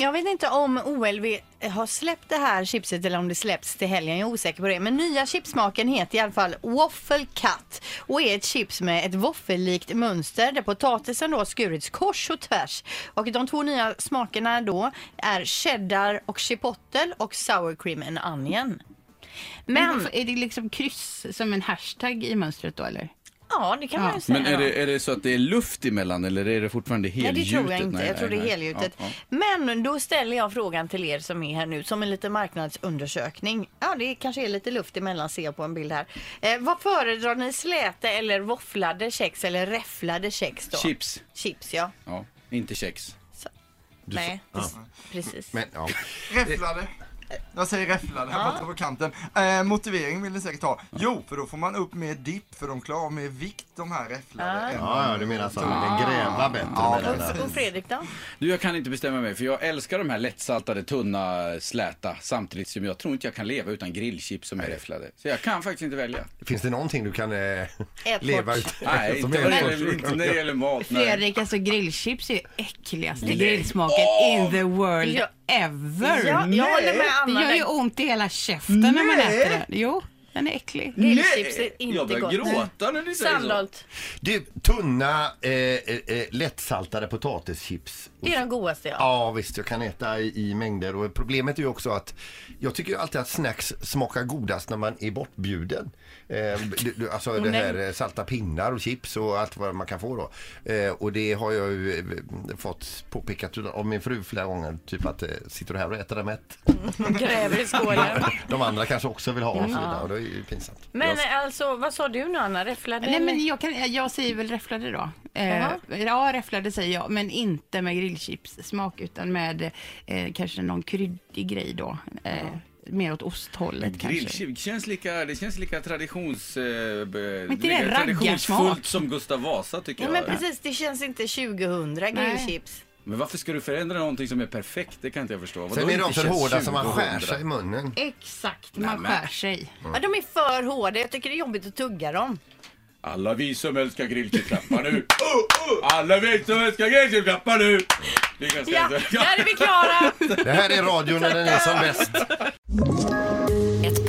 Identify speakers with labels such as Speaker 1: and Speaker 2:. Speaker 1: Jag vet inte om OLV har släppt det här chipset eller om det släpps till helgen. Jag är osäker på det. Men nya chipsmaken heter i alla fall Waffle Cut och är ett chips med ett våffellikt mönster där potatisen då har skurits kors och tvärs. Och de två nya smakerna då är cheddar och chipotle och sour cream and onion.
Speaker 2: Men
Speaker 1: Men
Speaker 2: varför- är det liksom kryss som en hashtag i mönstret då eller?
Speaker 1: ja, det kan man ju säga.
Speaker 3: Men är
Speaker 1: då.
Speaker 3: det, är det så att det är luft emellan eller är det fortfarande
Speaker 1: Nej, det
Speaker 3: helgjutet?
Speaker 1: tror jag inte. jag tror det
Speaker 3: nej.
Speaker 1: är helgjutet.
Speaker 3: Ja,
Speaker 1: Men då ställer jag frågan till er som är här nu som en liten marknadsundersökning. Ja, det kanske är lite luft emellan ser jag på en bild här. Eh, vad föredrar ni? Släta eller våfflade kex eller räfflade kex då?
Speaker 3: ja. Chips.
Speaker 1: Chips, ja.
Speaker 3: Ja, inte kex.
Speaker 1: Nej, precis.
Speaker 4: Men, ja.
Speaker 5: Räfflade. Jag säger räfflade, jag fattar på kanten. Eh, motivering vill ni säkert ha. Jo, för då får man upp mer dipp, för de klarar av mer vikt de här räfflade. än
Speaker 4: Ja, ja, du menar så Ah. att man kan gräva bättre med den där.
Speaker 1: Och, och Fredrik då?
Speaker 3: Du, jag kan inte bestämma mig för jag älskar de här lättsaltade, tunna, släta samtidigt som jag tror inte jag kan leva utan grillchips som är räfflade. Så jag kan faktiskt inte välja.
Speaker 4: Finns det någonting du kan eh,
Speaker 1: Ät
Speaker 4: leva
Speaker 1: bort.
Speaker 4: utan?
Speaker 3: Nej,
Speaker 4: som
Speaker 3: inte när
Speaker 4: är-
Speaker 3: det gäller- inte när det gäller mat. Nej.
Speaker 2: Fredrik, alltså grillchips är ju äckligaste grillsmaken in the world
Speaker 1: Ja.
Speaker 2: ever.
Speaker 1: Ja, jag håller med
Speaker 2: Det
Speaker 1: Anna.
Speaker 2: gör ju ont i hela käften när man äter den. Jo, den är äcklig.
Speaker 1: Grillchips är inte
Speaker 3: jag börjar
Speaker 1: gott.
Speaker 3: gråta när ni säger så.
Speaker 1: Sandholt,
Speaker 4: Du, tunna, eh, eh, eh, lättsaltade potatischips.
Speaker 1: det är den godaste ja.
Speaker 4: Ja visst, jag kan äta i, i mängder och problemet är ju också att jag tycker ju alltid att snacks smakar godast när man är bortbjuden. Eh, du, du, alltså det här eh, salta pinnar och chips och allt vad man kan få då. Eh, och det har jag ju eh, fått påpekat av min fru flera gånger, typ att eh, sitter du här och äter dig mätt?
Speaker 1: Gräver i skålen.
Speaker 4: De andra kanske också vill ha och så vidare och det är ju pinsamt.
Speaker 1: Men
Speaker 4: jag,
Speaker 1: alltså, vad sa du nu Anna? Räfflade?
Speaker 2: Nej,
Speaker 1: eller?
Speaker 2: men jag, kan, jag säger väl räfflade då. Eh,
Speaker 1: Jaha.
Speaker 2: ja, räfflade säger jag, men inte med grillchipssmak utan med eh, kanske någon kryddig grej då. Eh, Mer åt osthållet kanske.
Speaker 3: Grillchips känns lika, det känns lika traditions, eh, b-
Speaker 2: inte det är
Speaker 3: lika traditionsfullt
Speaker 2: raggarsmak.
Speaker 3: som Gustav Vasa tycker
Speaker 1: Ja,
Speaker 3: jag.
Speaker 1: men precis, det känns inte 2000 grillchips.
Speaker 3: Men varför ska du förändra någonting som är perfekt? Det kan inte jag förstå. Vadå
Speaker 4: sen är de
Speaker 3: inte
Speaker 4: för
Speaker 3: känns
Speaker 4: hårda som man
Speaker 3: 2000?
Speaker 4: skär sig i munnen.
Speaker 2: Exakt, man
Speaker 3: Nämen.
Speaker 2: skär sig.
Speaker 1: Ja, de är för hårda. Jag tycker det är jobbigt att tugga dem.
Speaker 3: Alla vi som älskar grillchips, klappa nu! Alla vi som älskar grillchips, klappa nu! Lycka till.
Speaker 1: Ja, där är vi klara!
Speaker 4: Det här är radion när den är som bäst.
Speaker 6: Ett